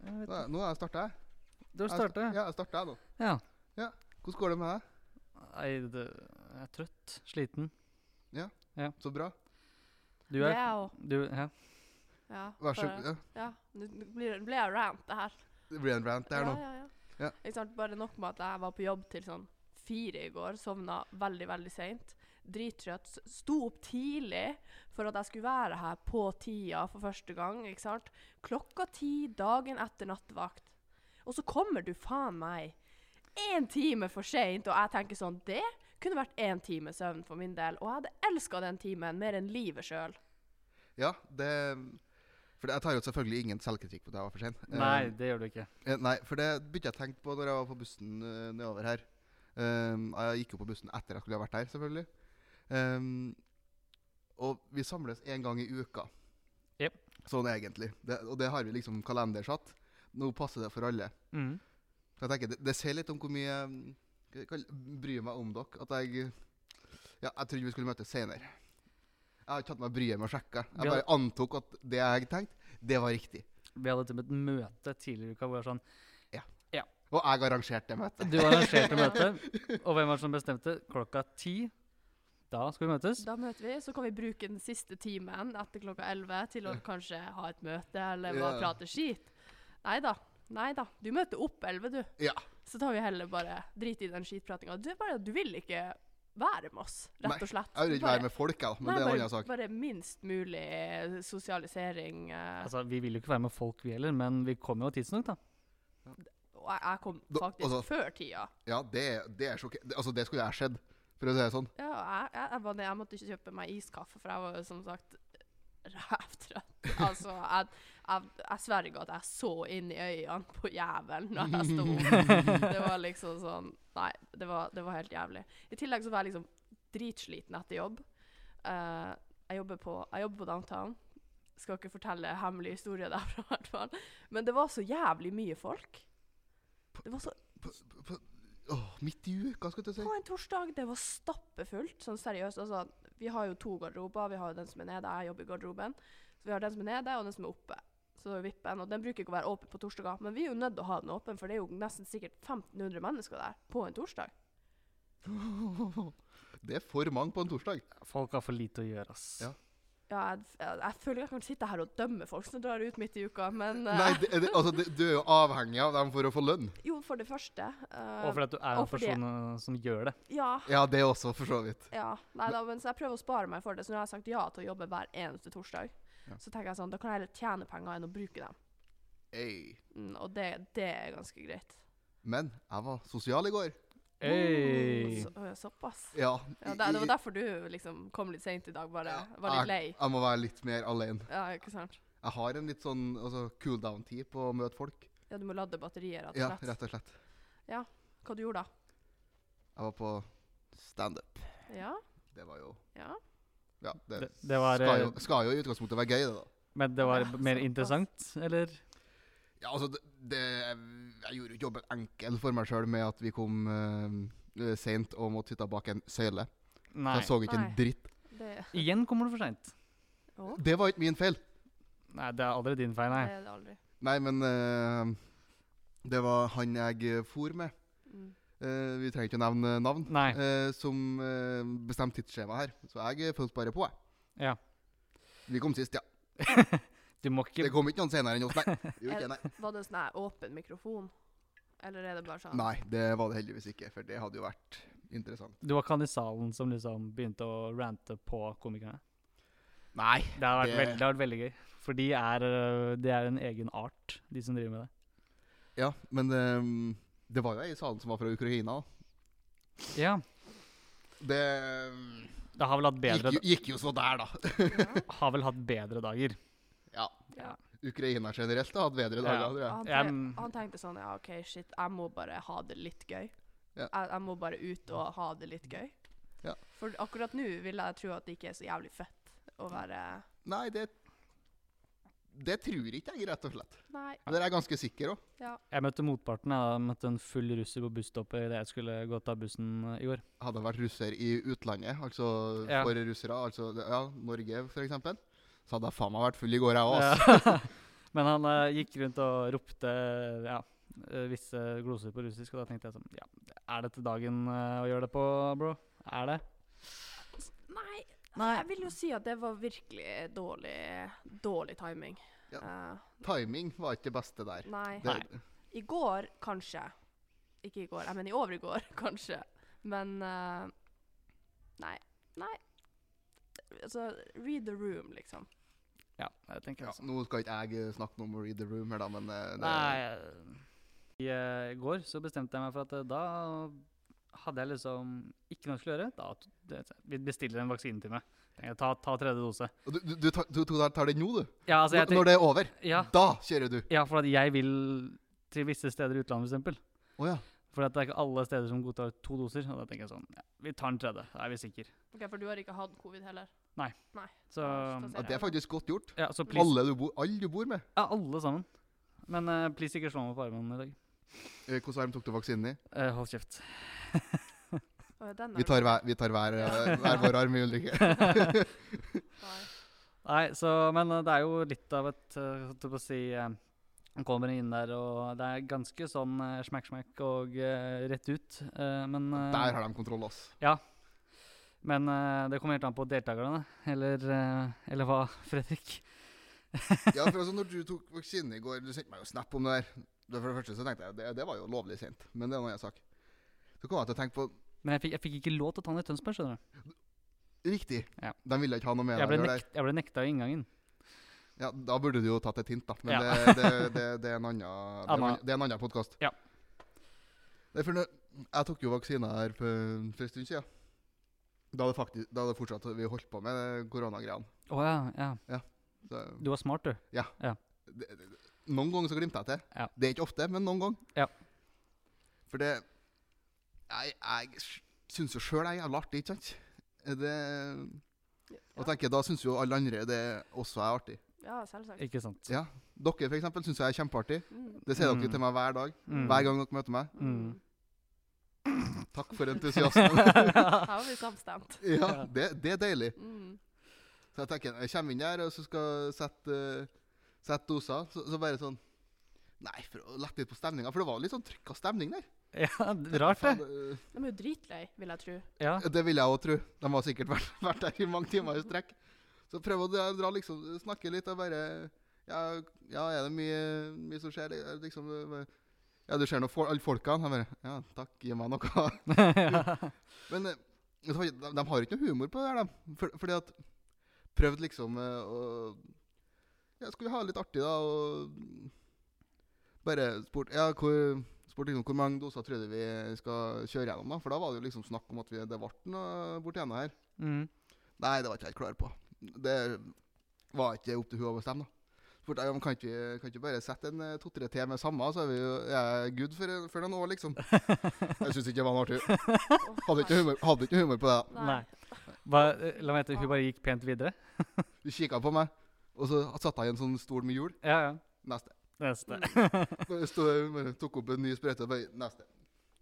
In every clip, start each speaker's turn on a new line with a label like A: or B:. A: nå. Jeg starter, jeg.
B: Du har
A: Jeg sta-
B: starta?
A: Altså, Ja, jeg starter, jeg nå.
B: Ja.
A: Hvordan går det med deg?
B: Nei, det, jeg er trøtt. Sliten.
A: Så bra.
B: Du
C: Det
B: er
C: er jo
B: du,
A: Eh.
B: ja.
C: Ja.
A: Vær så
C: bare-
A: ja.
C: ja. Nå blir, det- blir jeg rant, det her.
A: Det blir en rant der
C: ja,
A: nå.
C: Ja, ja.
A: Ja.
C: Ikke sant? Bare nok med at jeg var på jobb til sånn fire i går, sovna veldig, veldig seint. Drittrøtt. s- Sto opp tidlig for at jeg skulle være her på tida for første gang. ikke sant? Klokka ti dagen etter nattevakt. Og så kommer du faen meg én time for seint, og jeg tenker sånn Det kunne vært én time søvn for min del, og jeg hadde elska den timen mer enn livet sjøl.
A: Ja, det For jeg tar jo selvfølgelig ingen selvkritikk på at jeg var for sein.
B: Nei, det gjør du ikke.
A: Eh, Nei, for det begynte jeg å tenke på når jeg var på bussen eh, nedover her. Ehm, jeg gikk jo på bussen etter jeg skulle ha vært her, selvfølgelig. Ehm, og vi samles én gang i uka.
B: Jep.
A: Sånn egentlig. Det, og det har vi liksom kalendersatt. Nå passer det for alle.
B: Mm.
A: Så jeg tenker, Det, det sier litt om hvor mye eh, hva jeg kaller- bryr meg om dere. At jeg Ja, jeg trodde vi skulle møtes senere. Jeg har ikke tatt meg bryet med å sjekke. Jeg
B: Vi har-
A: bare antok at det jeg tenkte, det var riktig.
B: Vi hadde til og med et møte tidligere i uka hvor jeg var sånn
A: Og jeg arrangerte det møtet.
B: Du arrangerte møtet, og hvem var det som bestemte? Klokka ti. Da skal vi møtes.
C: Da møter vi, så kan vi bruke den siste timen etter klokka 11 til å kanskje ha et møte eller bare
A: Ja.
C: prate skit. Nei da. Nei da. Du møter opp 11, du.
A: Ja.
C: Så tar vi heller bare drit i den skitpratinga. Du, er bare- du vil ikke være med oss,
A: Nei,
C: rett og slett.
A: Jeg vil ikke
C: Bare-
A: være med folk, jeg, da, men
C: nei,
A: det er en
C: bare,
A: annen sak.
C: Bare minst mulig sosialisering. eh,
B: Altså, Vi vil jo ikke være med folk, vi heller, men vi kom jo tidsnok, da.
C: og jeg, jeg kom
A: Da-
C: faktisk
A: altså-
C: før tida.
A: Ja, det, det er sjokker... det- Altså, det skulle jeg skjedd, for å si det sånn.
C: Ja, jeg, jeg, jeg, var ned, jeg måtte ikke kjøpe meg iskaffe, for jeg var jo som sagt rævtrøtt. Altså, jeg, jeg, jeg sverger at jeg så inn i øynene på jævelen når jeg sto opp. Det var liksom sånn Nei, det var, det var helt jævlig. I tillegg så var jeg liksom dritsliten etter jobb. Eh, jeg, jobber på, jeg jobber på downtown. Skal ikke fortelle hemmelige historier derfra, i hvert fall. Men det var så jævlig mye folk. Det var så
A: P- p- p- Åh, midt i uka, skal du si.
C: på en torsdag. Det var stappfullt. Sånn seriøst. Altså, vi har jo to garderober. Vi har jo den som er nede, jeg jobber i garderoben. Så vi har den som er nede, og den som er oppe. Så det er jo vippen, og den bruker ikke å være åpen på torsdager. Men vi er jo nødt til å ha den åpen, for det er jo nesten sikkert 1500 mennesker der på en torsdag.
A: Det er for mange på en torsdag.
B: Folk har for lite å gjøre, ass.
A: Ja.
C: Ja, jeg, jeg, jeg føler jeg kan sitte her og dømme folk som drar ut midt i uka, men eh,
A: Nei, det, det, altså, det, du er jo avhengig av dem for å få lønn.
C: jo, for det første eh,
B: Og fordi at du er
C: og
B: en
C: fordi-
B: person eh, som gjør det.
C: Ja.
A: Ja, det også, for så vidt.
C: Ja, nei da, men så jeg prøver å spare meg for det. Så nå har jeg sagt ja til å jobbe hver eneste torsdag.
A: Ja.
C: Så tenker jeg sånn, da kan jeg heller tjene penger enn å bruke dem.
A: Ei.
C: Mm, og det, det er ganske greit.
A: Men jeg var sosial i går.
B: Hey.
C: Så, øh, såpass.
A: Ja.
C: Ja,
A: i-
C: det, det
A: i-
C: var derfor du liksom kom litt seint i dag, bare.
A: Ja, Ah.
C: Var litt lei.
A: Jeg, jeg må være litt mer alene.
C: Ja, ikke sant?
A: Jeg har en litt sånn altså, cool down-tid på å møte folk.
C: Ja, du må lade batterier, rett
A: Ja,
C: og slett.
A: rett og slett.
C: Hva du gjorde da?
A: Jeg var på standup.
C: Ja,
A: Det var jo
C: ja.
A: Ja, det,
B: Det, det var,
A: skal,
B: eh,
A: jo, skal jo i utgangspunktet være gøy, det, da.
B: men det var
C: Ja,
B: mer
C: såpass.
B: interessant, eller?
A: Ja, altså, det, det, jeg gjorde jo ikke jobben enkel for meg sjøl med at vi kom uh, seint og måtte sitte bak en søyle.
B: Nei.
A: Jeg så ikke en
C: Nei.
A: dritt.
C: Det,
B: Igjen kommer du for seint.
C: Å,
A: Det var ikke min feil.
B: Nei, det er aldri din feil,
C: det
B: nei.
C: er det aldri.
A: Nei, men eh, det var han jeg eh, for med.
C: Mm.
A: Eh, vi trenger ikke å nevne navn.
B: Nei.
A: eh, som eh, bestemte tidsskjema her. Så jeg eh, fulgte bare på, jeg.
B: Ja.
A: Vi kom sist, ja.
B: Du må ikke
A: Det kom ikke noen senere enn oss, nei. Det gjorde ikke det,
C: Var det sånn her åpen mikrofon? Eller er det bare sånn?
A: nei. nei, det var det heldigvis ikke, for det hadde jo vært interessant.
B: Du var ikke han i salen som liksom begynte å rante på komikerne?
A: Nei.
B: Det har vært,
A: Det-
B: veld, det har vært veldig gøy. For de er, øh, de er en egen art, de som driver med det.
A: Ja, men eh, det var jo ei i salen som var fra Ukraina. da.
B: Ja,
A: Det eh,
B: Det har vel hatt
A: gikk
B: bedre,
A: jo, gikk jo så der, da.
B: har vel hatt bedre dager.
A: Ja.
C: Ja.
A: Ukraina generelt har hatt bedre
B: Ja.
A: dager. tror jeg.
C: Han,
B: Jeg-
C: tenk- han tenkte sånn Ja, OK, shit, jeg må bare ha det litt gøy.
A: Ja.
C: Jeg, jeg må bare ut og ha det litt gøy.
A: Ja.
C: For akkurat nå vil jeg tro at det ikke er så jævlig fett å være
A: Nei, det Det tror ikke jeg, rett og slett.
C: Nei.
A: Der er jeg ganske sikker òg.
B: Jeg møtte motparten. Jeg møtte en full russer på busstoppet idet jeg skulle gå ta bussen øh, i år.
A: Hadde jeg vært russer i utlandet, altså
B: Ja.
A: for russere, altså ja, Norge f.eks., så hadde jeg faen meg vært full i går, jeg òg.
B: Ja. Men han eh, gikk rundt og ropte ja, eh, visse gloser på russisk, og da tenkte jeg sånn ja, Er dette dagen eh, å gjøre det på, bro? Er det?
C: Nei,
B: Nei.
C: jeg vil jo si at det var virkelig dårlig, dårlig timing. Eh,
A: Timing var ikke det beste der.
C: nei.
A: Det,
C: I går, kanskje. Ikke i går, jeg mener i overgår, kanskje. Men eh, Nei. Nei. Altså, read the room, liksom.
B: Ja, jeg tenker altså.
A: ja,
B: også.
A: nå skal ikke jeg eh, snakke noe om Read the Room her, da, men eh, det,
B: Nei, jeg- i eh, går så bestemte jeg meg for at eh, da hadde jeg liksom ikke noe jeg skulle gjøre. Da t- det, vi bestiller en vaksine til meg. Tenkte, ta, ta tredje dose.
A: Og Du, du, du, tar, du tar- tar det nå, du?
B: Ja, altså, jeg
A: Når- Når
B: tenk,
A: det er over?
B: ja,
A: Da kjører du?
B: ja, for at jeg vil til visse steder i utlandet, f.eks.
A: Å ja.
B: For at det er ikke alle steder som godtar to doser. Og da tenker jeg sånn ja, Vi tar den tredje, da er vi sikre.
C: Ok, For du har ikke hatt covid heller?
B: Så,
C: Ja,
A: ja. Det er faktisk godt gjort.
B: ja, så please,
A: Alle du, bor, alle du bor med.
B: ja, alle sammen. Men eh, please ikke slå meg på armen i dag.
A: Eh, Hvor varm tok du vaksinen i?
B: Eh, hold kjeft.
C: Å, ja, den er
A: Vi tar hver, vi tar hver, eh, hver vår arm i ulike.
C: Nei.
B: Nei, så, men eh, det er jo litt av et eh, holdt jeg på å si eh, Han kommer inn der, og det er ganske sånn eh, smekk, smekk og eh, rett ut. eh, men eh,
A: Der har de kontroll, ass.
B: men eh, det kommer helt an på deltakerne, eller, eh, eller hva, Fredrik?
A: Ja, for altså, når du tok vaksinen i går, du sendte meg jo snap om det der. Det- For det første så tenkte jeg det, det var jo lovlig sent, men det er en annen sak. Så kom jeg til å tenke på
B: Men jeg fikk, jeg fikk ikke lov til å ta den i Tønsberg, skjønner du.
A: Riktig,
B: Ja.
A: de ville ikke ha noe med
B: Jeg ble,
A: deg å gjøre der.
B: nekt, jeg ble nekta i inngangen.
A: Ja, da burde du jo tatt et hint, da. Men
B: Ja.
A: det, det, det, det er en annen, det er en
B: Anna.
A: annen- det er en annen podkast.
B: Ja.
A: For når, jeg tok jo vaksina her for, for en stund siden. Da hadde, faktisk, da hadde fortsatt vi holdt på med koronagreiene.
B: Å ja, ja.
A: Så
B: Du var smart, du.
A: det, det, det- noen ganger så glimter jeg til.
B: Ja.
A: Det er ikke ofte, men noen ganger.
B: Ja.
A: For det Jeg, jeg syns jo sjøl jeg er jævla artig, ikke sant? Det, og
C: Ja,
A: tenker, Da syns jo alle andre det også er artig.
C: ja selvsagt.
B: Ikke sant.
A: Ja. Dere for eksempel, syns jeg er kjempeartig.
C: Mm.
A: Det sier
B: Mm.
A: dere til meg hver dag.
B: Mm.
A: Hver gang dere møter meg.
B: Mm.
A: Takk for entusiasmen.
C: Her var vi samstemt.
A: ja, det, det er deilig.
C: Mm.
A: Så jeg tenker, jeg kommer inn der og så skal jeg sette, eh, sette doser, så, så bare sånn Nei, for å lette litt på stemninga. For det var litt sånn trykka stemning der.
B: Ja, rart det.
A: Faen,
C: De er jo dritlei, vil jeg tro.
B: Ja.
A: eh, Det vil jeg òg tro. De har sikkert vært, vært der i mange timer i strekk. Så prøv å dra, dra liksom, snakke litt og bare Ja, ja er det mye, mye som skjer? Det er Liksom, det bare, ja, du ser nå for, alle folkene. Jeg bare Ja, takk, gi meg noe. Men eh, så har ikke- de, de har jo ikke noe humor på det her, de. For, fordi at Prøvd liksom eh, å Ja, skulle vi ha det litt artig, da, og Bare spurt Ja, hvor Spurt liksom hvor mange doser trodde vi skal kjøre gjennom, da. For da var det jo liksom snakk om at vi, det ble noe borti enda her.
B: Mm.
A: Nei, det var ikke jeg helt klar på. Det var ikke opp til hun å bestemme, da. Spurte jeg om kan ikke vi kan ikke vi bare sette en eh, to-tre til med samme, så er vi jo er jeg good for, for noen år, liksom. Jeg syns ikke det var noe artig.
C: Å,
A: Hadde ikke
C: nei.
A: humor, hadde ikke humor på det. da.
B: Nei. Hva- eh, la meg gjette, hun bare gikk pent videre?
A: Hun kikka på meg, og så satte jeg i en sånn stol med hjul.
B: Ja, ja.
A: Neste.
B: Neste.
A: Så jeg stod, jeg bare tok opp en ny sprøyte og bare Neste.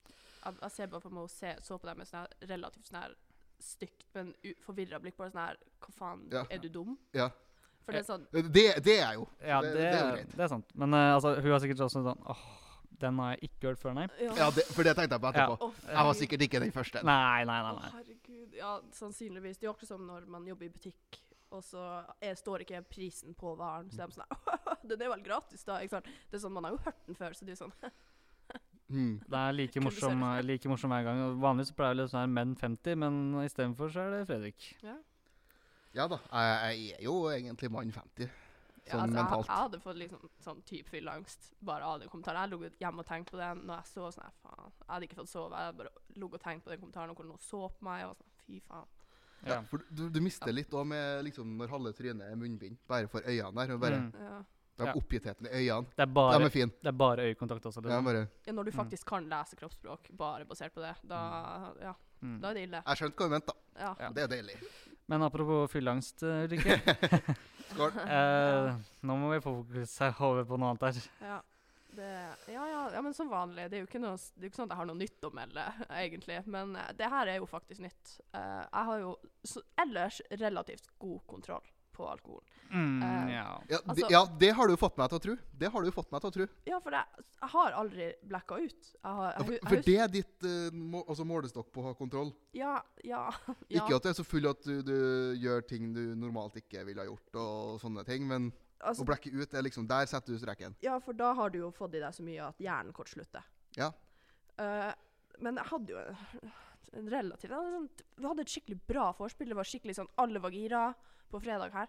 C: Jeg, jeg ser bare for meg hun se, så på deg med sånn her relativt sånn her stygt, men forvirra blikk. Bare sånn her Hva faen,
A: Ja.
C: er du dum?
A: Ja.
C: For det er sånn
A: Det, det er jeg jo.
B: Ja,
A: Det-
B: det,
A: det er jo greit.
B: det er sant. Men eh, altså, hun har sikkert også sånn åh, den har jeg ikke hørt før, nei.
A: Ja, det, for det tenkte jeg på etterpå.
C: Å,
A: Jeg var
C: fy.
A: sikkert ikke den første.
B: Nei, nei,
C: Å,
B: nei. nei.
C: herregud. Ja, sannsynligvis. Det er jo akkurat som når man jobber i butikk, og så er, står ikke prisen på varen. Så de er sånn her, Den er vel gratis, da? Ikke sant? Det er sånn, Man har jo hørt den før, så det er sånn
A: Mm.
B: Det er like
C: Kunne
B: morsom,
C: se det.
B: like morsom hver gang. Og Vanligvis så pleier det sånn her menn 50, men istedenfor så er det Fredrik.
A: Ja da. Jeg, jeg er jo egentlig mann 50.
C: ja,
A: Sånn
C: altså,
A: mentalt.
C: Jeg, jeg hadde fått liksom sånn type fylleangst bare av den kommentaren. Jeg lå hjemme og tenkte på den når jeg så sånn her, faen. Jeg hadde ikke fått sove. Jeg hadde bare lå og tenkte på den kommentaren, og hvordan hun så på meg. Og sånn, fy faen.
A: Ja.
B: Ja.
A: for du, du mister litt òg med liksom, når halve trynet er munnbind, bare for øynene der. Og bare,
B: Mm.
C: Ja.
A: De
B: Ja.
A: oppgittheten i øynene.
B: Det, er
A: De
B: bare,
A: er fine.
B: det er bare øyekontakt også.
A: De er
B: Liksom.
A: bare,
C: Ja, når du
B: Mm.
C: faktisk kan lese kroppsspråk bare basert på det, da, ja,
B: Mm.
C: da er det ille.
A: jeg skjønte hva du mente, da.
C: Ja.
B: Ja.
A: Det er deilig.
B: Men apropos fylleangst, eh, Ulrikke.
A: Skål.
B: eh, nå må vi få fokus her over på noe annet her.
C: Ja. Det, ja, ja, ja, men som vanlig. Det er jo ikke, noe, s- det er jo ikke sånn at jeg har noe nytt å melde, egentlig. Men eh, det her er jo faktisk nytt. Eh, jeg har jo s- ellers relativt god kontroll på alkohol.
B: Mm,
C: Eh,
B: ja.
A: Ja,
C: Altså-
A: det, ja, det har du fått meg til å tro. Det har du fått meg til å tro.
C: Ja, for jeg, jeg har aldri blacka ut. Jeg har,
A: Ja,
C: jeg,
A: for,
C: hu- jeg
A: for
C: husker,
A: det er ditt eh, må, altså målestokk på å ha kontroll.
C: ja, ja, ja.
A: Ikke at du er så full at du, du gjør ting du normalt ikke ville ha gjort, og sånne ting, men
C: Altså,
A: å blekke ut er liksom Der setter du streken.
C: ja, for da har du jo fått i deg så mye at hjernen kortslutter.
A: Ja.
C: Eh, men jeg hadde jo en, en relativt jeg hadde sånn, Vi hadde et skikkelig bra vorspiel. Det var skikkelig sånn Alle var gira på fredag her.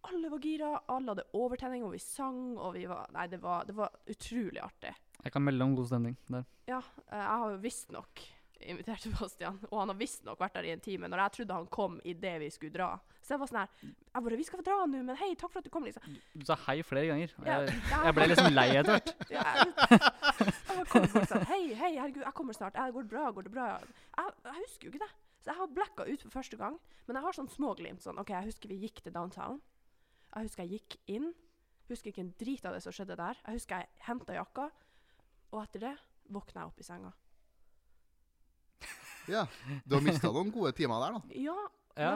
C: Alle var gira, alle hadde overtenning, og vi sang, og vi var Nei, det var, det var utrolig artig.
B: Jeg kan melde om god stemning der.
C: Ja, eh, jeg har jo visstnok invitert Sebastian, og han har visstnok vært der i en time, når jeg trodde han kom idet vi skulle dra. Så jeg var sånn her Jeg bare Vi skal få dra nå, men hei, takk for at du kom, liksom.
B: Du sa hei flere ganger. og
C: Ja,
B: Jeg,
C: ja.
B: jeg ble liksom lei etter hvert.
C: Ja, jeg, jeg bare kom og folk sa Hei, hei, herregud, jeg kommer snart. Ja, går det bra? Går det bra? Jeg, jeg husker jo ikke det. Så jeg har blacka ut for første gang. Men jeg har sånn små glimt. Sånn, OK, jeg husker vi gikk til downtown. Jeg husker jeg gikk inn. Husker ikke en drit av det som skjedde der. Jeg husker jeg henta jakka, og etter det våkna jeg opp i senga.
A: Ja. Du har mista noen gode timer der, da.
C: Ja,
B: Ja,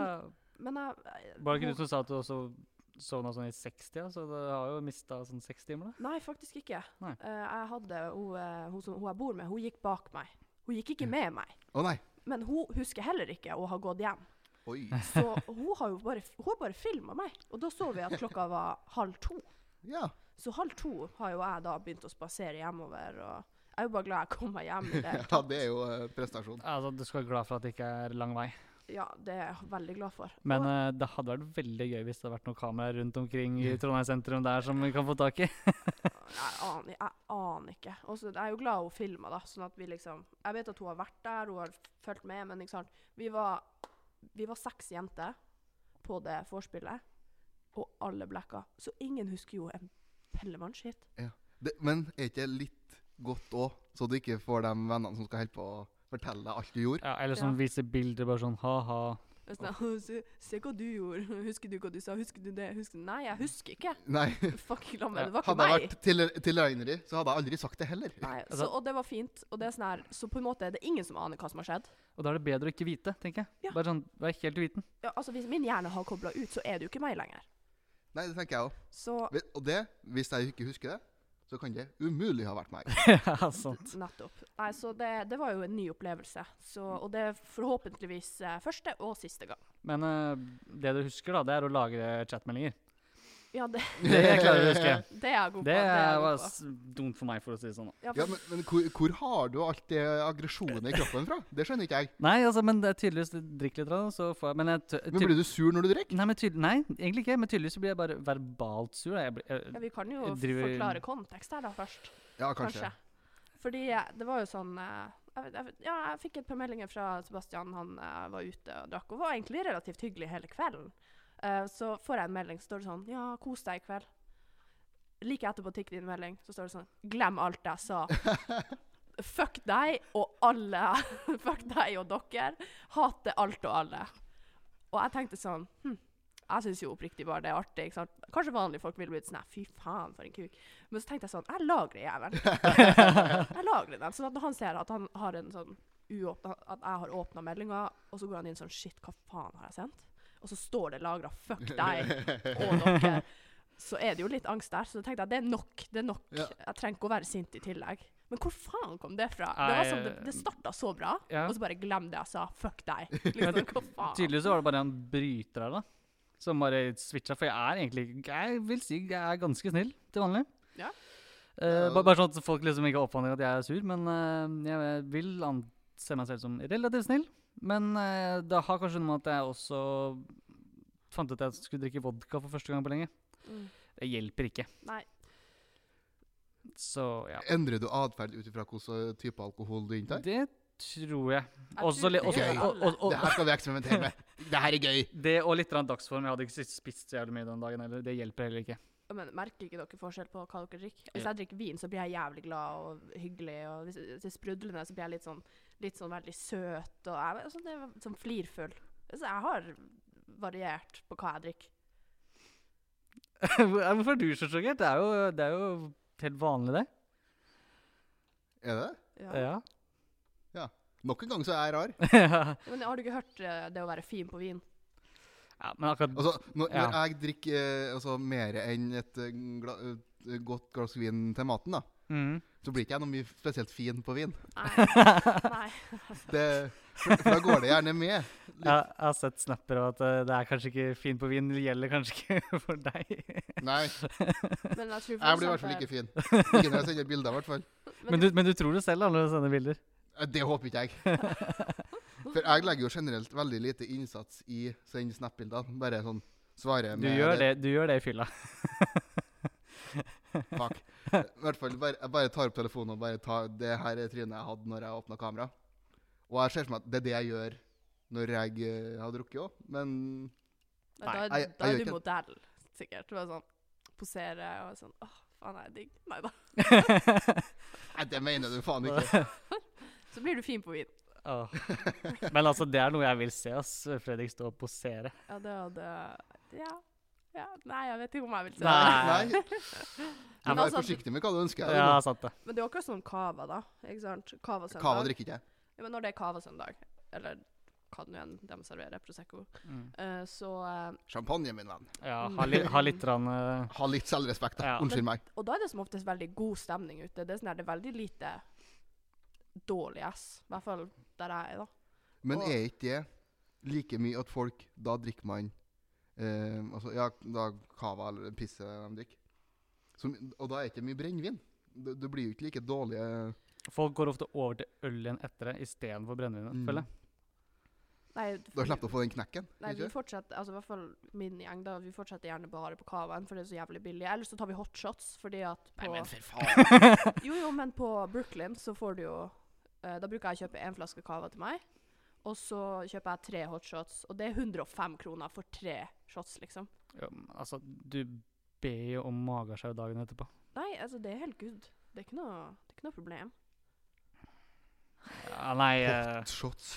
C: men jeg
B: Var det ikke du som sa at du også sovna sånn i 60, så du har jo mista sånn seks timer, da?
C: Nei, faktisk ikke.
B: Nei.
C: Eh, jeg hadde hun, eh, hun, som, hun jeg bor med, hun gikk bak meg. Hun gikk ikke med meg.
A: Å nei.
C: Men hun husker heller ikke å ha gått hjem.
A: Oi.
C: Så hun har jo bare, hun har bare filma meg. Og da så vi at klokka var halv to.
A: Ja.
C: Så halv to har jo jeg da begynt å spasere hjemover. Og jeg er jo bare glad jeg kom meg hjem. i det.
A: ja det er jo eh, prestasjon.
B: Altså, du skal være glad for at det ikke er lang vei.
C: Ja, det er jeg veldig glad for.
B: Men
C: og,
B: eh, det hadde vært veldig gøy hvis det hadde vært noen kameraer rundt omkring i Trondheim sentrum der som vi kan få tak i.
C: jeg, aner, jeg aner ikke. Og så jeg er jo glad hun filma, da. Sånn at vi liksom Jeg vet at hun har vært der, hun har fulgt med, men ikke sant. Vi var, vi var seks jenter på det vorspielet, og alle blacka. Så ingen husker jo en pellemannskitt.
A: Det, men er ikke det litt godt òg, så du ikke får de vennene som skal holde på å fortelle deg alt du gjorde?
B: Ja, eller som
C: Ja.
B: viser bilder bare sånn ha-ha.
C: Jeg er Sånn, se, se hva du gjorde. Husker du hva du sa? Husker du det? Husker du? Nei, jeg husker ikke.
A: Nei.
C: Fuck, la meg, det var ikke
A: Hadde jeg
C: meg.
A: vært til- tilregnelig, så hadde jeg aldri sagt det heller.
C: Nei, så,
B: Altså-
C: og det var fint. Og det er sånn her, så på en måte er det ingen som aner hva som har skjedd.
B: Og da er det bedre å ikke vite, tenker jeg.
C: Ja.
B: Bare sånn, Vær helt uviten.
C: Ja, altså Hvis min hjerne har kobla ut, så er det jo ikke meg lenger.
A: Nei, det tenker jeg òg.
C: Så
A: Og det, hvis jeg ikke husker det, så kan det umulig ha vært meg.
B: ja, sant.
C: nettopp. Nei, så det, det var jo en ny opplevelse. Så, og det er forhåpentligvis eh, første og siste gang.
B: Men eh, det du husker, da, det er å lagre chatmeldinger.
C: Ja, det,
B: Det klarer du å huske.
C: det er jeg god på.
B: Det
C: jeg god
B: var
C: på.
B: s- dumt for meg, for å si det sånn. da.
C: Ja, for,
A: Ja, men, men hvor, hvor har du alt det aggresjonen i kroppen fra? Det skjønner ikke jeg.
B: Nei, altså, men det er tydeligvis Drikk litt, da, så får jeg Men, jeg, tø-
A: Men
B: ty-
A: blir du sur når du drikker?
B: nei, men tydel, nei, egentlig ikke. Men tydeligvis så blir jeg bare verbalt sur. da. Jeg blir, jeg,
C: ja, Vi kan jo
B: Jeg driver-
C: forklare kontekst her da først.
A: Ja,
C: kanskje.
A: kanskje.
C: Fordi eh, det var jo sånn eh, jeg, vet- jeg, vet- Ja, jeg fikk et par meldinger fra Sebastian. Han eh, var ute og drakk, og var egentlig relativt hyggelig hele kvelden. Eh, så får jeg en melding, så står det sånn Ja, kos deg i kveld. Like etterpå tikk din melding, så står det sånn Glem alt jeg sa. Fuck deg og alle. Fuck deg og dere. Hater alt og alle. Og jeg tenkte sånn hm, Jeg syns jo oppriktig bare det er artig. ikke sant? Kanskje vanlige folk ville blitt sånn «Nei, Fy faen, for en kuk. Men så tenkte jeg sånn Jeg lagrer jævelen. jeg lagrer den. Sånn at når han ser at han har en sånn uåpna At jeg har åpna meldinga, og så går han inn sånn Shit, hva faen har jeg sendt? Og så står det lagra Fuck deg og dere. Så er det jo litt angst der. Så da tenkte jeg det er nok. Det er nok.
A: Ja.
C: Jeg trenger ikke å være sint i tillegg. Men hvor faen kom det fra? Det var sånn, det, det starta så bra,
B: eh, Ja.
C: og så bare glem det jeg sa. Fuck deg. Liksom, hva faen?
B: Tydeligvis så var det bare en bryter her, da. Som bare switcha. For jeg er egentlig Jeg vil si jeg er ganske snill til vanlig.
C: Ja.
B: Eh,
A: Ja.
B: ba- bare sånn at folk liksom ikke oppfatter at jeg er sur, men eh, jeg vil anse meg selv som relativt snill. Men eh, det har kanskje noe med at jeg også fant ut at jeg skulle drikke vodka for første gang på lenge.
C: Mm.
B: Det hjelper ikke.
C: Nei.
B: Så ja.
A: Endrer du atferd ut ifra hvilken type alkohol du inntar?
B: Det tror jeg.
C: Jeg
B: Også
C: tror
B: li-
C: det
B: også-
A: gjør
B: og- og- og-
A: Det her skal vi eksperimentere med. Det her er gøy.
B: Det og litt grann dagsform. Jeg hadde ikke spist så jævlig mye den dagen heller. Det hjelper heller ikke.
C: Men merker ikke dere forskjell på hva dere drikker? Hvis
B: Ja.
C: jeg drikker vin, så blir jeg jævlig glad og hyggelig. Og hvis det er sprudlende, så blir jeg litt sånn, litt sånn veldig søt og jeg, sånn, det, er sånn flirfull. Så jeg har variert på hva jeg drikker.
B: Hvor- Hvorfor er du så sjokkert? Det er jo, det er jo helt vanlig, det.
A: Er det det?
C: Ja.
B: Ja.
A: Nok en gang så er jeg rar.
C: Men har du ikke hørt eh, det å være fin på vin?
B: Ja, men akkurat
A: Altså, når,
B: Ja.
A: når jeg drikker eh, altså, mer enn et, eh, gla, et godt glass vin til maten, da,
B: mm.
A: så blir ikke jeg noe mye spesielt fin på vin.
C: Nei. Nei.
A: Det, for, for da går det gjerne med.
B: jeg, jeg har sett snapper av at eh, det er kanskje ikke fin på vin, det gjelder kanskje ikke for deg.
A: Nei,
C: Men jeg
A: jeg
C: tror for
A: blir i hvert fall
C: eksempel-
A: ikke fin. Ikke når jeg sender bilder, i hvert fall.
C: Men-
B: Men du, men du tror det selv da, når du sender bilder?
A: Eh, Det håper ikke jeg. For jeg legger jo generelt veldig lite innsats i send snap-bilder. Bare sånn svare
B: Du
A: med
B: gjør det, du gjør det i fylla.
A: Takk. I hvert fall, bare, jeg bare tar opp telefonen og bare tar Det her er trynet jeg hadde når jeg åpna kamera. Og jeg ser for meg at det er det jeg gjør når jeg eh, har drukket òg, men
C: Men da,
A: Nei,
C: er-
A: jeg- jeg
C: da er
A: gjør
C: du
A: ikke det.
C: modell, sikkert. Du er sånn Posere og sånn Åh, faen, jeg er digg. Nei da.
A: Nei, det mener du faen ikke.
C: Så blir du fin på vin.
B: Åh. Men altså, det er noe jeg vil se, ass. Fredrik stå og posere.
C: Ja, det hadde Ja. ja. Nei, jeg vet ikke om jeg vil si det.
B: Nei.
A: Nei, du må
C: Men
A: være
C: altså,
A: forsiktig med hva du ønsker. deg,
B: Ja, sant det.
C: Men det er akkurat sånn cava, da. Ikke sant?
A: da. Cava
C: Cava-søndag.
A: drikker ikke jeg.
C: Ja, men når det er cava-søndag, eller hva det nå enn de serverer, Prosecco,
B: Mm.
C: eh, så eh,
A: Champagne, min venn.
B: Ja, ha, li, ha litt rann, eh,
A: Ha litt selvrespekt, da.
B: Ja.
A: Unnskyld meg.
C: Og da er det som oftest veldig god stemning ute. Det er, sånn her, det er veldig lite dårlig ass. I hvert fall der jeg er, da.
A: Men
C: Og-
A: er ikke det like mye at folk Da drikker man eh, altså, Ja, da cava eller pisse de drikker. Som, og da er det ikke mye brennevin. Du, du blir jo ikke like dårlig eh,
B: folk går ofte over til øl igjen etter det, istedenfor brennevinet,
A: Mm.
B: føler jeg.
C: Nei,
A: Da slipper du å få den knekken.
C: Nei,
A: ikke?
C: vi fortsetter, altså i hvert fall min gjeng da, vi fortsetter gjerne bare på cavaen, for det er så jævlig billig. Eller så tar vi hotshots, fordi at på
A: for faen.
C: Jo, jo, men på Brooklyn så får du jo eh, Da bruker jeg å kjøpe én flaske cava til meg, og så kjøper jeg tre hotshots, og det er 105 kroner for tre shots, liksom.
B: Ja, men altså, du ber jo om magesjau dagen etterpå.
C: Nei, altså, det er helt good. Det er ikke noe, det er ikke noe problem.
B: Ja, nei eh,
A: Hotshots.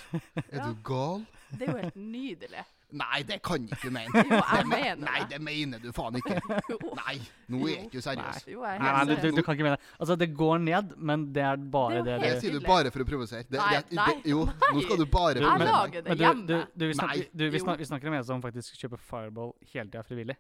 A: Er
C: Ja.
A: du gal?
C: Det er jo helt nydelig.
A: Nei, det kan ikke du mene.
C: Jo, jeg
A: Det me-
C: mener det.
A: Nei, det mener du faen ikke.
C: Jo,
A: Nei, nå
C: Jo.
A: er ikke du seriøs.
C: jo jeg er
B: Nei, nei
C: helt
B: du, du,
C: seriøs.
B: du kan ikke mene det. Altså, det går ned, men det er bare
C: Det
B: det,
C: er jo
A: Det
B: du
C: helt-
A: sier du
C: tydelig.
A: bare for å provosere. Det,
C: Nei,
A: det, det,
C: nei,
A: jo, nå skal du bare
B: Du,
C: Jeg
A: provosere.
C: lager det
B: Men du, du,
C: hjemme.
B: du, vi, snakker,
A: Nei.
B: du vi,
C: Jo.
B: snakker, vi snakker om en som faktisk kjøper Fireball hele tida frivillig.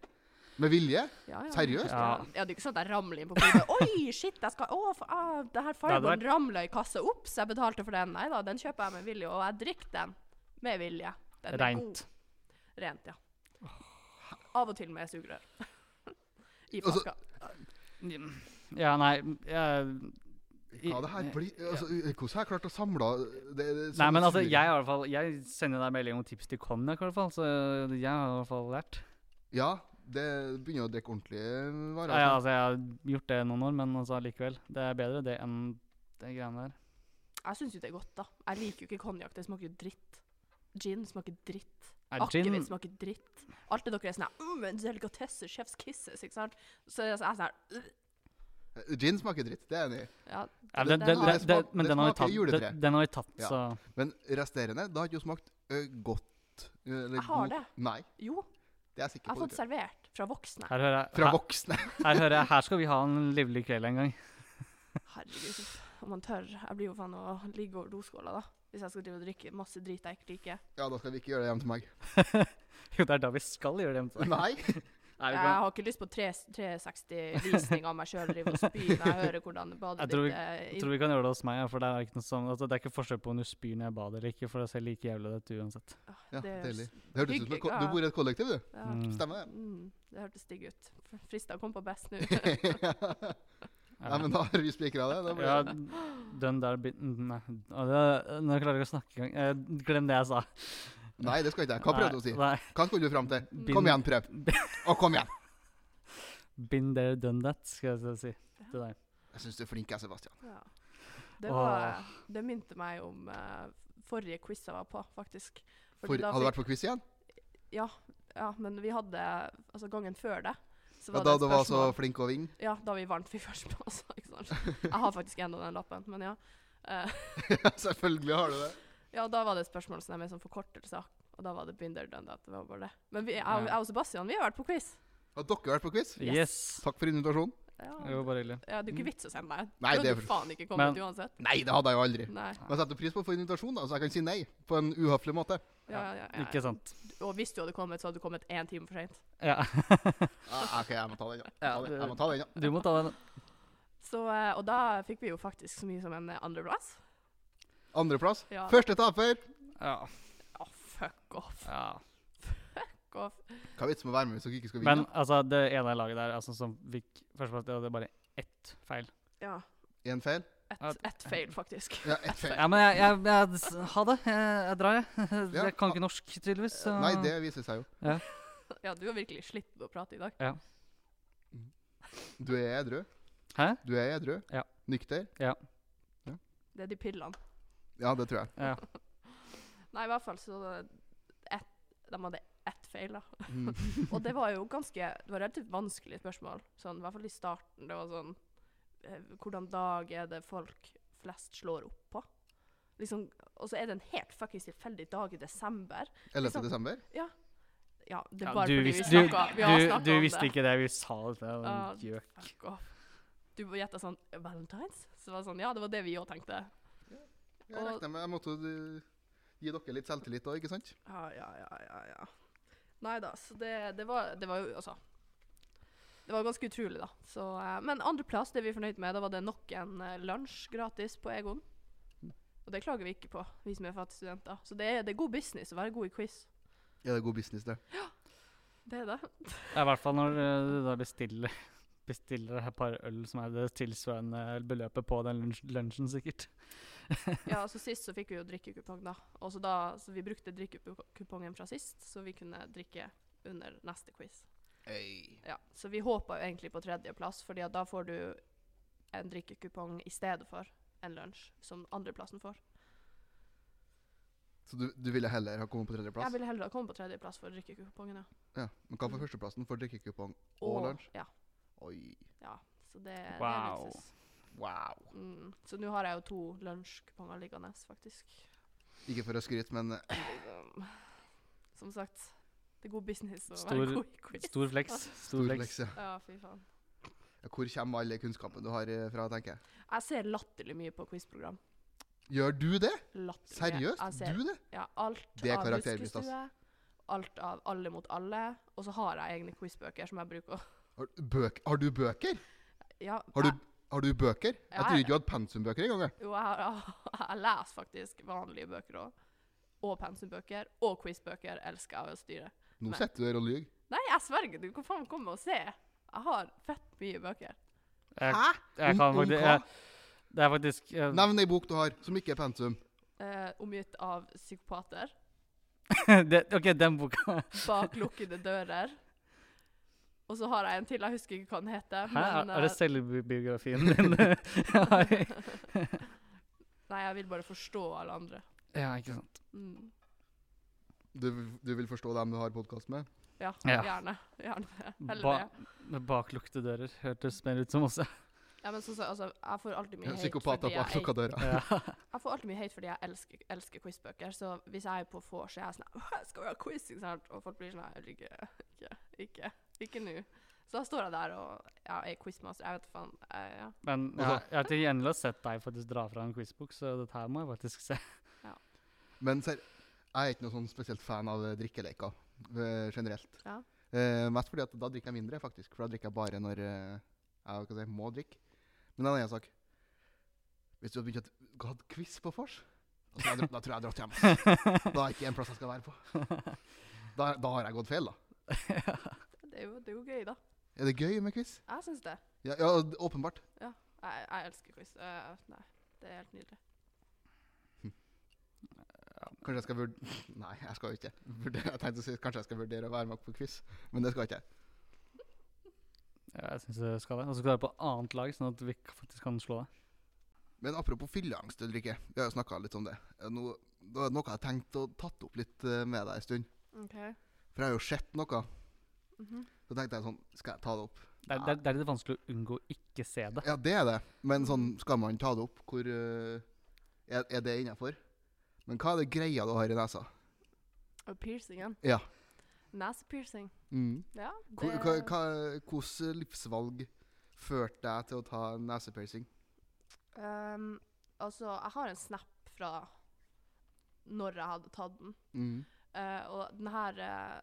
A: Med vilje?
C: Ja, ja.
A: Seriøst?
C: Ja.
B: Ja.
C: ja, det er ikke sånn at jeg ramler inn på bordet. Oi, shit, jeg skal Å, for, ah, det
B: Nei,
C: her fargen
B: det
C: ramla i kassa. Ops, jeg betalte for den. Nei da, den kjøper jeg med vilje, og jeg drikker den med vilje. Den er
B: Rent.
C: god. Rent, ja. Av og til med sugerør. I
A: Altså,
C: flaska.
B: Ja, nei jeg,
A: Sånn Hva det her blir altså, Hvordan har jeg klart å samle det, det, det-
B: Nei, men altså,
A: sånn-
B: jeg, har i hvert fall, jeg sender deg melding om tips til konjakk, i hvert fall. Så jeg har i hvert fall lært.
A: Ja, det begynner å drikke ordentlige varer.
B: Ja, ja, altså, jeg har gjort det noen år, men altså, likevel. Det er bedre det enn de greiene der.
C: Jeg syns jo det er godt, da. Jeg liker jo ikke konjakk, det smaker jo dritt. Gin smaker dritt.
B: Er gin,
C: Akevitt smaker dritt. Alt det dere er sånn her mm, en delikatesse, chef's kisses, ikke sant. Så jeg er sånn her «Ugh».
A: altså. Eh, Gin smaker dritt, det er jeg enig i.
C: Ja,
B: ja, den,
C: Den-
B: den,
C: den
B: den,
A: smak-
B: den,
A: den
B: men den har vi
A: smaker
B: tatt,
A: juletre.
B: den, den har vi tatt
A: Ja.
B: så
A: Men resterende, det har ikke jo smakt ø, godt. eh, Eller
C: Jeg har
A: god-
C: det.
A: Nei,
C: jo.
A: det er jeg
C: Jeg
A: sikker
C: har
A: på.
C: fått servert fra voksne.
B: her hører, jeg,
A: Fra
B: her,
A: voksne.
B: her hører jeg Her skal vi ha en livlig kveld en gang.
C: Herregud, uff, om man tør. Jeg blir jo faen å ligge over doskåla, da. Hvis jeg skal drive og drikke masse drit jeg ikke liker.
A: Ja, da skal vi ikke gjøre det hjemme til meg.
B: Jo, det er da vi skal gjøre det. Nei,
A: Nei.
B: vi
C: Jeg
B: kan,
C: har ikke lyst på tre- 360-visning av meg sjøl drive og spy når jeg hører hvordan badet
B: Jeg tror vi-
C: ditt er
B: jeg tror vi kan gjøre det hos meg, ja, for det er ikke noe sånn, altså, det er ikke forskjell på om du spyr når jeg bader eller ikke, for det ser like jævlig ut uansett.
C: Ah,
A: Ja,
C: det høres-
A: deilig. Det hørtes ut som et ko-
C: Hyggelig,
A: du
C: ja.
A: bor i et kollektiv, du.
C: Ja.
B: Mm.
A: Stemmer det?
C: Mm, det hørtes digg ut. F- Frista kom på best nå.
A: Nei, men da har vi spikra det. Da blir
B: Ja,
A: det.
B: den der bit- Nei, å, det- nå klarer jeg ikke å snakke engang. Eh, Glem det jeg sa.
A: sånn. Nei, det skal ikke jeg. Hva prøvde du å si?
B: Nei,
A: Hva skulle du fram til?
B: nei,
A: Kom igjen, prøv. Og kom igjen.
B: Been there, done that, skal jeg si til deg.
A: Jeg syns du er flink, jeg, Sebastian.
C: Ja. Det, var, det minte meg om eh, forrige quiz jeg var på, faktisk. Fordi
A: For,
C: da
A: hadde du
C: fikk-
A: vært på quiz igjen?
C: Ja, men vi hadde Altså, gangen før det, så
A: Ja,
C: var
A: da
C: det
A: du
C: et
A: var altså så
C: spørsmål
A: flink å vinne?
C: Ja, da vi vant vi først på, altså. Ikke sant? Jeg har faktisk ennå den lappen, men ja. Eh,
A: Selvfølgelig har du det.
C: ja, da var det et spørsmål som er med sånn forkortelse. Og da var det Binder done that. Det var bare det. Men vi, jeg,
B: Ja.
C: jeg og Sebastian, vi har vært på quiz.
A: Har dere vært på quiz?
C: Yes.
B: Yes.
A: Takk for invitasjonen.
C: Ja,
B: Det var bare hyggelig.
C: ja det er jo ikke vits å sende meg.
A: Nei, det
C: Da hadde
A: er
C: du
A: for-
C: faen ikke kommet
B: Men-
C: uansett.
A: Nei, det hadde jeg jo aldri.
C: Nei.
A: Men jeg setter pris på å få invitasjon, da, så jeg kan si nei på en uhøflig måte.
C: Ja, ja, ja, ja.
B: Ikke sant.
C: Og hvis du hadde kommet, så hadde du kommet én time for seint.
B: Ja.
A: Ah, OK, jeg må ta den, ja.
B: Ja,
A: Ta den, Jeg
B: det-
A: må ta den, ja.
B: Du må ta den.
C: Så, eh, og da fikk vi jo faktisk så mye som en eh, andreplass.
A: Andreplass.
C: Ja.
A: Første taper.
B: Ja.
C: Å, fuck off.
B: ja.
C: Fuck off.
A: Hva er vitsen med å være med hvis dere ikke skal vinne?
B: Men altså, det ene laget der altså, som fikk førsteplass, det hadde bare ett feil.
C: Ja.
A: Én feil?
C: Ett et feil, faktisk.
A: Ja, ett feil.
B: Ja, men jeg, jeg, jeg s- Ha det. Jeg, jeg drar, jeg.
A: Ja.
B: Jeg kan ikke norsk, tydeligvis. Så.
A: Nei, det viser seg jo.
C: Ja, du har virkelig slitt å prate i dag.
A: Du er edru.
B: Hæ?
A: Du er edru.
B: Ja.
A: Nykter.
C: Det er de pillene.
A: Ja, det tror jeg.
B: Ja.
C: Nei, i hvert fall så ett, De hadde ett feil, da.
A: Mm.
C: Og det var jo ganske Det var relativt vanskelige spørsmål. Sånn, I hvert fall i starten. Det var sånn eh, Hvordan dag er det folk flest slår opp på? Liksom, og så er det en helt fuckings tilfeldig dag i desember.
A: 11.
C: Liksom-
A: desember?
C: Ja, det
B: Ja,
C: er bare
B: du
C: fordi
B: visste-
C: vi snakka Vi har
B: du,
C: snakka om
B: du
C: det.
B: visste ikke det. Vi sa det. det var
C: Ja,
B: en gjøk.
C: Fuck off. Du gjetta sånn Valentines? Så var det sånn Ja, det var det vi òg tenkte.
A: Jeg
C: Og-
A: regner med jeg måtte eh, gi dere litt selvtillit da, ikke sant?
C: Ja, ja, ja, ja. ja. Nei da, så det, det, var, det var jo Altså. Det var ganske utrolig, da. Så, eh, men andreplass, det er vi fornøyd med. Da var det nok en eh, lunsj gratis på Egon. Og det klager vi ikke på, vi som er fattige studenter. Så det er, det er god business å være god i quiz.
A: Er det god business, det?
C: Det er det.
B: Ja, I hvert fall når eh, du da bestiller bestiller et par øl som er det tilsvarende beløpet på den lunsj- lunsjen, sikkert.
C: Ja, så Sist så fikk vi jo drikkekupong, da. Og så da, så Vi brukte drikkekupongen fra sist, så vi kunne drikke under neste quiz.
A: Ei.
C: Ja, Så vi håpa jo egentlig på tredjeplass, fordi at da får du en drikkekupong i stedet for en lunsj, som andreplassen får.
A: Så du, du ville heller ha kommet på
C: Jeg
A: tredjeplass?
C: ville heller ha kommet på tredjeplass for drikkekupongen, ja.
A: Ja. Men hva for førsteplassen? For drikkekupong og lunsj?
C: Ja.
A: Oi.
C: ja. Så det, det
B: Wow.
C: er luksus.
A: Wow.
C: Mm. Så nå har jeg jo to lunsjkuponger liggende, faktisk.
A: Ikke for å skryte, men eh,
C: Liksom. Som sagt, det er god business å
B: Stor-
C: være god i quiz.
B: Stor flex. Stor
A: stor
B: flex.
A: lekse.
C: Ja, fy faen.
A: Ja, Hvor kommer all den kunnskapen du har eh, fra, tenker jeg.
C: Jeg ser latterlig mye på quizprogram.
A: Gjør du det?
C: Latterlig. Jeg
A: Seriøst?
C: ser,
A: Du det?
C: Ja, alt
A: Det er
C: av
A: karaktervist, ass.
C: buskestue, alt av Alle mot alle, og så har jeg egne quizbøker som jeg bruker å
A: Har, bøk, har du bøker?
C: ja,
A: Har du,
C: jeg,
A: har du bøker? Jeg
C: Ja,
A: trodde
C: jeg-
A: ikke du hadde pensumbøker engang. jeg.
C: Jo, jeg, har- jeg leser faktisk vanlige bøker òg. Og pensumbøker. Og quizbøker elsker jeg å styre.
A: Nå
C: Nei.
A: sitter du her og lyver.
C: Nei, jeg sverger, du kan faen komme og se. Jeg har fett mye bøker.
B: Jeg,
A: Hæ?
B: jeg kan
A: Om- om
B: faktisk
A: hva?
B: jeg, Det er faktisk eh,
A: Nevn ei bok du har som ikke er pensum.
C: Eh, omgitt av psykopater.
B: det, OK, den boka
C: Bak lukkede dører. Og så har jeg en til, jeg husker ikke hva den heter.
B: Hæ? Er,
C: men,
B: er det
C: eh,
B: selvbiografien din? Nei.
C: Nei, jeg vil bare forstå alle andre.
B: ja, ikke sant.
C: Mm.
A: Du, du vil forstå dem du har podkast med?
C: Ja,
B: Ja.
C: gjerne. Gjerne det. Heller
B: Ba
C: det.
B: med baklukte dører hørtes mer ut som oss.
C: Ja, men sånn som- altså, jeg får alltid mye hate
A: Psykopater
C: fordi
A: bak
C: jeg,
A: lukka døra.
B: Ja.
C: jeg får alltid mye hate fordi jeg elsker, elsker quizbøker. Så hvis jeg er på vors, så er jeg sånn «Åh, jeg Skal vi ha quiz? Ikke sant? Og folk blir sånn Nei, ikke, ikke, ikke, ikke nå. Så da står jeg der og ja, er quizmaster. Jeg vet faen. Jeg, ja.
B: Men
A: Og så-
B: jeg, jeg har til gjengjeld sett deg faktisk dra fra en quizbok, så dette her må jeg faktisk se.
A: Men ser, jeg er ikke noe sånn spesielt fan av eh, drikkeleker eh, generelt.
C: Ja.
A: Eh, mest fordi at da drikker jeg mindre, faktisk. For da drikker jeg bare når eh, jeg hva skal jeg si, må drikke. Men det er en annen sak. Hvis du hadde begynt å ha quiz på vors, da tror jeg jeg dra- da tror jeg jeg hadde dratt hjem. ass. Da er ikke en plass jeg skal være på. Da, da har jeg gått feil, da.
C: Det, er jo, det er jo gøy, da.
A: Er det gøy med quiz?
C: Jeg syns det.
A: Ja, ja d- åpenbart.
C: Jeg, jeg elsker quiz. Eh, nei, det er helt nydelig.
A: Kanskje jeg skal vurdere Nei, jeg skal jo ikke vurdere. Jeg tenkte å si kanskje jeg skal vurdere å være med på quiz, men det skal jeg ikke.
B: Ja, jeg synes jeg skal det. Og så skal du være på annet lag, sånn at vi k- faktisk kan slå deg.
A: Men apropos fylleangst, Ulrikke. Vi har jo snakka litt om det. Eh, Nå, det var noe jeg tenkte å tatt opp litt eh, med deg en stund.
C: OK.
A: For jeg har jo sett noe.
C: Mhm.
A: Så tenkte jeg sånn Skal jeg ta det opp?
B: Det er, det er, det er litt vanskelig å unngå å ikke se det.
A: Ja, det er det. Men sånn, skal man ta det opp? Hvor eh, er, er det innafor? Men hva er det greia du har i nesa?
C: Og piercingen.
A: Ja.
C: Nesepiercing.
A: Mm.
C: Ja,
A: Hvor-
C: det-
A: hva- hva- Hvilke livsvalg førte deg til å ta nesepiercing?
C: Ehm, altså, jeg har en snap fra når jeg hadde tatt den.
A: Mm.
C: Eh, og den her eh,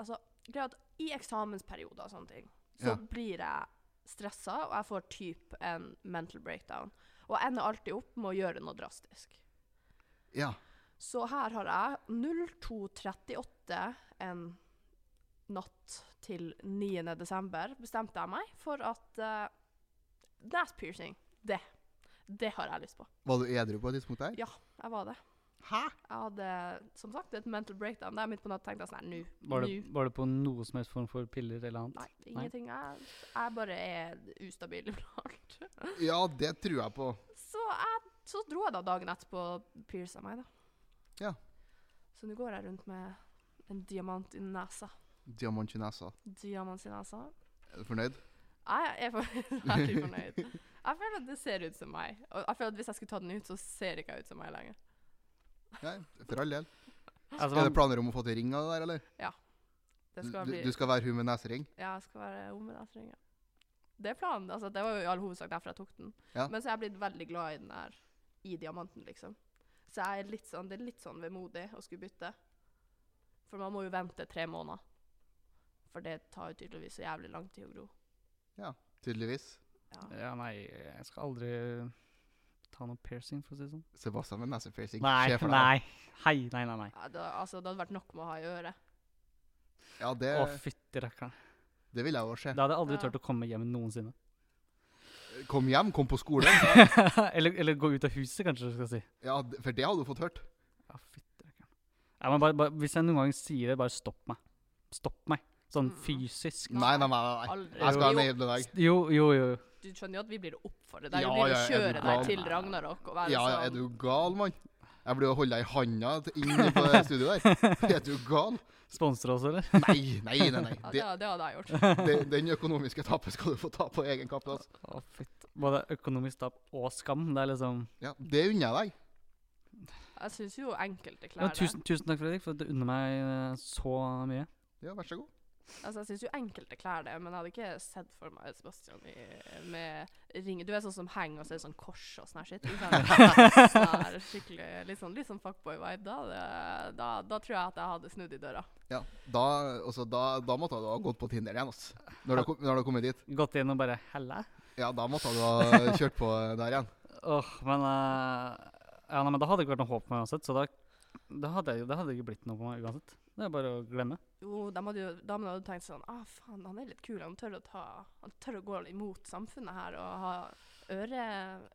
C: Altså, greia er at i eksamensperioder og sånne ting, så
A: Ja.
C: blir jeg stressa, og jeg får type en mental breakdown. Og jeg ender alltid opp med å gjøre noe drastisk.
A: Ja.
C: Så her har jeg 02.38 en natt til 9. desember bestemte jeg meg for at uh, Nass piercing, det. Det har jeg lyst på.
A: Var du edru på et tidspunkt der?
C: Ja. Jeg var det.
A: Hæ?
C: Jeg hadde som sagt et mental breakdown der midt på natt tenkte jeg sånn her, nå.
B: Var det,
C: nå.
B: var det på noe som helst form for piller eller annet?
C: Nei, ingenting. Jeg, jeg bare er ustabil iblant.
A: Ja, det tror jeg på.
C: Så, jeg, så dro jeg da dagen etterpå og pierca meg, da.
A: Ja.
C: Så nå går jeg rundt med en diamant i nesa.
A: Diamant i nesa.
C: Diamant i nesa.
A: Er du fornøyd?
C: Jeg er for- veldig fornøyd. Jeg føler at det ser ut som meg. Og jeg føler at Hvis jeg skulle ta den ut, så ser ikke jeg ut som meg lenger.
A: Nei, for all del.
B: Altså,
A: Er det
B: man,
A: planer om å få til ring av det der, eller?
C: Det
A: Du,
C: skal bli,
A: du- du skal være hun med nesering?
C: ja, jeg skal være om med den ringen. Det er planen. altså Det var jo i all hovedsak derfor jeg tok den.
A: Ja.
C: Men så er jeg blitt veldig glad i den her, i diamanten, liksom. Så jeg er litt sånn, det er litt sånn vemodig å skulle bytte. For man må jo vente tre måneder. For det tar jo tydeligvis så jævlig lang tid å gro.
A: Tydeligvis.
C: Ja.
B: ja, nei, jeg skal aldri ta noe piercing, for å si det sånn.
A: Sebastian med nesepiercing.
B: Nei,
A: Se for deg.
B: nei. Hei, nei, nei. nei.
C: Ja, det, altså, det hadde vært nok med å ha i øret.
A: Ja, det,
B: Å, fytti rakkeren.
A: det vil jeg òg se.
B: Da hadde jeg aldri
C: Ja.
B: turt å komme hjem noensinne.
A: Kom hjem, kom på skolen.
B: eller, eller gå ut av huset, kanskje du skal si.
A: Ja, d- for det hadde du fått hørt.
B: Å, fytti rakkeren. Nei, men bare, bare, hvis jeg noen gang sier det, bare stopp meg. Stopp meg. Sånn
C: Mm.
B: fysisk.
A: Nei, nei, nei. nei.
C: Aldri.
A: Jeg skal ha
C: Jo,
A: en egen dag.
B: Jo, jo, jo.
C: Du skjønner jo at vi blir oppfordret. Det er jo
A: Ja,
C: blir å
A: ja, er du
C: kjøre
A: gal?
C: deg til Ragnarok og være
A: Ja, ja, er
C: sånn
A: du gal, mann? Jeg blir å holde deg i handa til- inn på det studioet der. Er du gal?
B: Sponser oss, eller?
A: Nei, nei, nei. nei.
C: ja, det,
A: Det,
C: det hadde jeg gjort.
A: det, den økonomiske tapet skal du få ta på egen kappe. Altså.
B: Å, fytti. Både økonomisk tap og skam. Det er liksom
A: Ja, det unner jeg deg.
C: Jeg syns jo enkelte
B: ja,
C: klær det.
B: tusen, tusen takk, Fredrik, for at du unner meg eh, så mye.
A: Ja, vær så god.
C: Altså, jeg syns jo enkelte klær det, men jeg hadde ikke sett for meg Sebastian i, med ring Du er sånn som henger og så er det sånn kors og sånn her shit. Ikke sant? Sånn her skikkelig, litt sånn, litt sånn fuckboy-vibe. Da, hadde- da, da tror jeg at jeg hadde snudd i døra.
A: Ja, da, altså, da, da måtte du ha gått på Tinder igjen, altså. Når du har kom- når du har kommet dit.
B: Gått inn og bare Helle?
A: Ja, da måtte du ha kjørt på der igjen.
B: Åh, men eh, Ja, nei, men da hadde det ikke vært noe håp for meg uansett, så da, da hadde jeg- det hadde ikke blitt noe for meg uansett. Det er bare å glemme.
C: Jo, da hadde jo damene hadde tenkt sånn Ah, faen, han er litt kul. Han tør å, ta, han tør å gå imot samfunnet her og ha øre,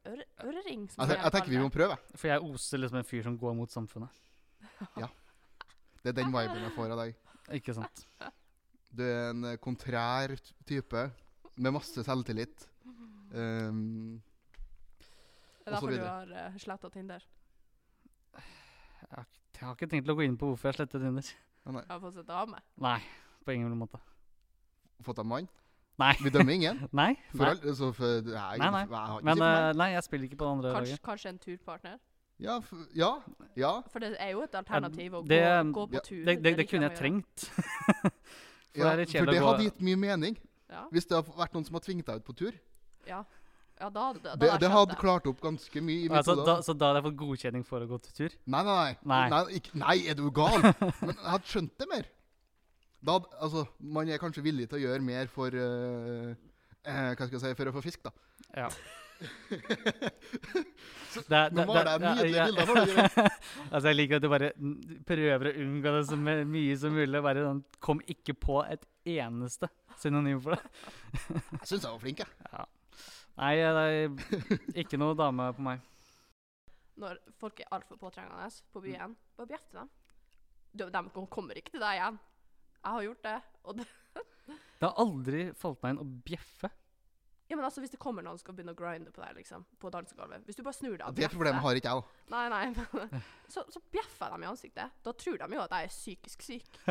C: øre, ørering.
A: Jeg,
C: som jeg
A: Altså, jeg tenker vi
C: kaller
A: må prøve.
B: For jeg oser liksom en fyr som går mot samfunnet.
A: Det er den viben jeg får av deg.
B: Ikke sant?
A: Du er en eh, kontrær t- type med masse selvtillit. Um,
C: Det
A: og så
C: er derfor du
A: videre.
C: har uh, sletta Tinder.
B: Jeg har, ikke- jeg har ikke tenkt å gå inn på hvorfor jeg slettet Tinder.
C: Jeg har fått sett dame.
B: Nei, på ingen måte.
A: fått deg mann.
B: Nei.
A: Vi dømmer ingen.
B: Nei.
A: For
B: nei.
A: all, så for, nei,
B: Nei, nei.
A: Jeg, har ikke
B: Men
A: sikkert meg.
B: eh, nei, jeg spiller ikke på det andre
C: Kanskje,
B: laget.
C: kanskje en turpartner.
A: ja, f ja, ja.
C: For det er jo et alternativ å
B: det-
C: gå, gå på
A: ja,
C: tur.
B: Det, det, det
C: liker
B: kunne jeg
C: å gjøre.
B: trengt. For
A: ja.
B: det er litt kjedelig
A: For det
B: å gå-
A: hadde gitt mye mening.
C: Ja,
A: Hvis det hadde vært noen som hadde tvingt deg ut på tur.
C: ja. ja da, hadde- da,
A: Det, det
C: hadde jeg skjønt
A: hadde
C: det.
A: klart opp ganske mye i mitt
B: Altså,
A: hode.
B: da, så da hadde jeg fått godkjenning for å gå til tur?
A: Nei, nei, nei.
B: Nei.
A: Nei, ikke, nei er du gal? Men jeg hadde skjønt det mer. Da, hadde- altså, man er kanskje villig til å gjøre mer for eh, eh, Hva skal jeg si For å få fisk, da.
B: Ja.
A: Nå var det nydelige bilder for dere.
B: Altså, jeg liker at du bare n- prøver å unngå det så me- mye som mulig. Bare sånn, kom ikke på et eneste synonym for det.
A: Jeg syns jeg var flink, jeg.
B: Ja. Nei, det er ikke noe dame på meg.
C: Når folk er altfor påtrengende på
A: Mm.
C: byen, bare bjeff til dem. De, de kom- kommer ikke til deg igjen. Jeg har gjort det. Og det
B: Det har aldri falt meg inn å bjeffe.
C: ja, men altså, hvis det kommer noen som skal begynne å grinde på deg liksom, på dansegulvet Hvis du bare snur deg og
A: Det
C: bjeffer-
A: problemet har ikke jeg, da.
C: Nei, nei. men- Så, så bjeffer jeg dem i ansiktet. Da tror de jo at jeg er psykisk syk.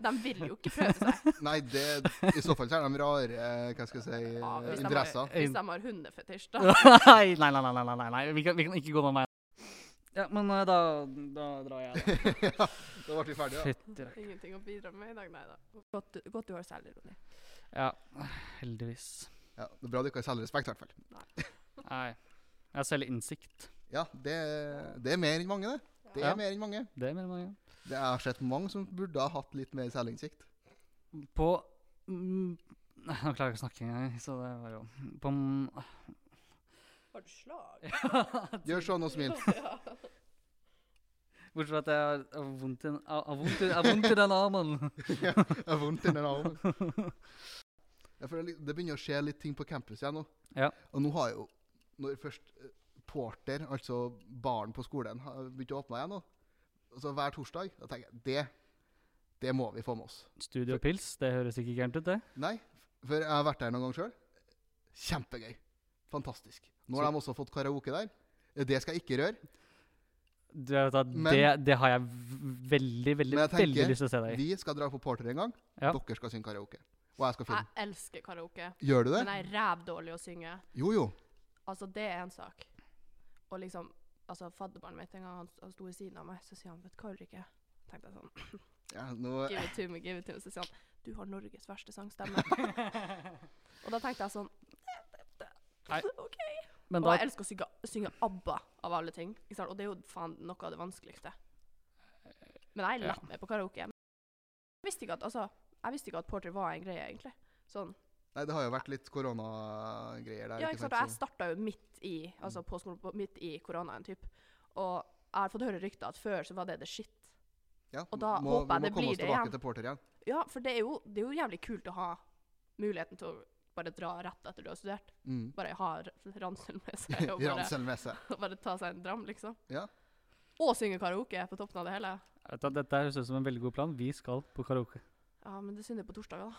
C: De vil jo ikke prøve seg.
A: Nei, det, I så fall så er de rare eh, hva skal jeg si, eh,
C: Ja, hvis de har,
A: interesser.
C: hvis de har hundefetisj, da.
B: nei, nei, nei, nei, nei, nei, nei. Vi, kan, vi kan ikke gå den veien. Ja, men eh, da, da drar jeg. da.
A: ja, da ble vi ferdige. Ja.
B: Fytti rakker.
C: Ingenting å bidra med i dag, nei da. Godt, godt du har selvironi.
B: Ja, heldigvis.
A: Ja, det er bra du ikke har selvrespekt, i hvert fall.
B: Nei. Jeg har selvinnsikt.
A: Ja, det, det er mer enn mange, det. Det er
B: Ja.
A: mer enn mange.
B: Det mener man jo.
A: Det jeg har sett mange som burde ha hatt litt mer selvinnsikt.
B: På mm, Nei, nå klarer jeg ikke å snakke engang. Så det var jo På mm,
C: Har du slag?
A: Gjør sånn og smil.
C: Ja.
B: Bortsett fra at jeg har- har vondt i den- har- har vondt i- har vondt i den armen.
A: Ja, jeg har vondt i den armen. Ja, for det, er litt- det begynner å skje litt ting på campus igjen nå.
B: Ja.
A: Og nå har jo Når først eh, Porter, altså baren på skolen, har begynt å åpne igjen nå, altså hver torsdag, da tenker jeg det, det må vi få med oss.
B: Studio Pils, det høres ikke gærent ut, det.
A: Nei, for jeg har vært der noen gang sjøl. Kjempegøy. Fantastisk. Nå har
B: Så-
A: de også fått karaoke der. Det skal jeg ikke røre.
B: Du vet at
A: Men-
B: det, det har jeg v- veldig, veldig
A: Men jeg tenker,
B: veldig lyst til å se deg i.
A: Vi skal dra på Porter en gang.
B: Ja.
A: Dere skal synge karaoke. Og jeg skal filme.
C: Jeg elsker karaoke,
A: Gjør du det?
C: men jeg er rævdårlig å synge.
A: Jo, jo.
C: Altså, det er en sak. Og liksom, altså, fadderbarnet mitt en gang han, han sto ved siden av meg, så sier han 'Vet du hva, Ulrikke?' tenkte jeg sånn
A: Ja, nå,
C: Give it to me, give it to me. Så sier han 'Du har Norges verste sangstemme'. og da tenkte jeg sånn
B: Nei.
C: OK.
B: Men
C: Og
B: da
C: jeg elsker å synge, synge ABBA, av alle ting. Ikke sant? Og det er jo faen noe av det vanskeligste. Men jeg er
B: Ja.
C: lett med på karaoke. Jeg visste ikke at, altså, jeg visste ikke at Porter var en greie, egentlig. Sånn.
A: Nei, det har jo vært litt koronagreier der.
C: Ja, ikke sant? Og jeg
A: så-
C: starta jo midt i
A: Mm.
C: altså på skolen, på- midt i koronaen, typ. Og jeg har fått høre rykter at før så var det det shit.
A: Ja,
C: og da
A: må,
C: håper
A: vi
C: jeg det
A: må komme
C: blir
A: oss
C: det
A: tilbake
C: igjen.
A: til Porter igjen.
C: Ja, for det er, jo, det er jo jævlig kult å ha muligheten til å bare dra rett etter du har studert.
A: Mm.
C: Bare ha r- ransel med seg og bare,
A: Ransel med seg.
C: og bare ta seg en dram, liksom.
A: Ja.
C: Og synge karaoke på toppen av det hele.
B: Vet du at Dette høres ut som en veldig god plan. Vi skal på karaoke.
C: Ja, men det synd det er på torsdager, da.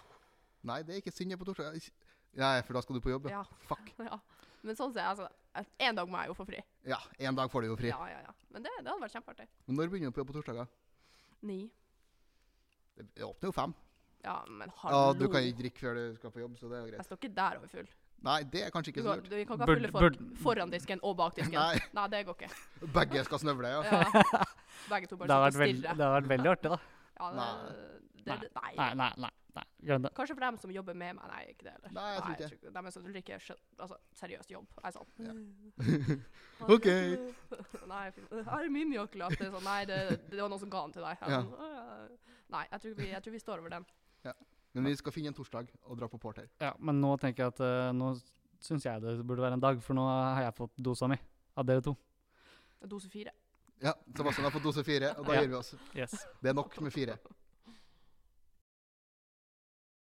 A: Nei, det er ikke synd jeg er på torsdag. Jeg- Nei, for da skal du på jobb. Ja.
C: Ja.
A: Fuck.
C: ja. Men sånn ser jeg, altså. at En dag må jeg jo få fri.
A: Ja, en dag får du jo fri.
C: Ja, ja, ja. Men det, det hadde vært kjempeartig.
A: Men når begynner du på jobb på torsdager?
C: Ni.
A: Det det åpner jo fem.
C: Ja, men hallo.
A: Ja, du kan ikke drikke før du skal på jobb, så det er jo greit.
C: Jeg står ikke der overfull.
A: Nei, det er kanskje
C: Altså, Du
A: ikke så lurt.
C: kan, du kan ikke ha
B: Burde-
C: fulle folk
B: burde-
C: foran disken og bak disken.
A: Nei.
C: Nei, det går ikke.
A: Begge skal snøvle, ja.
C: Ja. Begge to
B: Det
C: bare
B: har vært,
C: sitter og
B: veld, det
C: stirrer.
B: har vært veldig artig, da.
C: Ja, det, det, det, nei.
B: Nei, nei, nei. nei. Glem det.
C: Kanskje for dem som jobber med meg. Nei, ikke det heller.
A: Nei, jeg tror ikke det.
C: De er sånn du liker skjø- altså, seriøst jobb. Jeg er sånn
A: Ok.
C: Nei, fy- her er min jakkeløp. Det er sånn, nei, det, det var noen som ga den til deg. Jeg er
A: Ja.
C: sånn, «Åh, Nei, jeg tror, vi, jeg tror vi står over den.
A: Men vi skal finne en torsdag og dra på Porter.
B: Ja, men nå tenker jeg at eh, nå syns jeg det burde være en dag, for nå har jeg fått dosa mi av dere to.
C: Dose fire.
A: Ja, Sebastian har fått dose fire, og da
B: Ja.
A: gir vi oss.
B: Yes.
A: Det er nok med fire.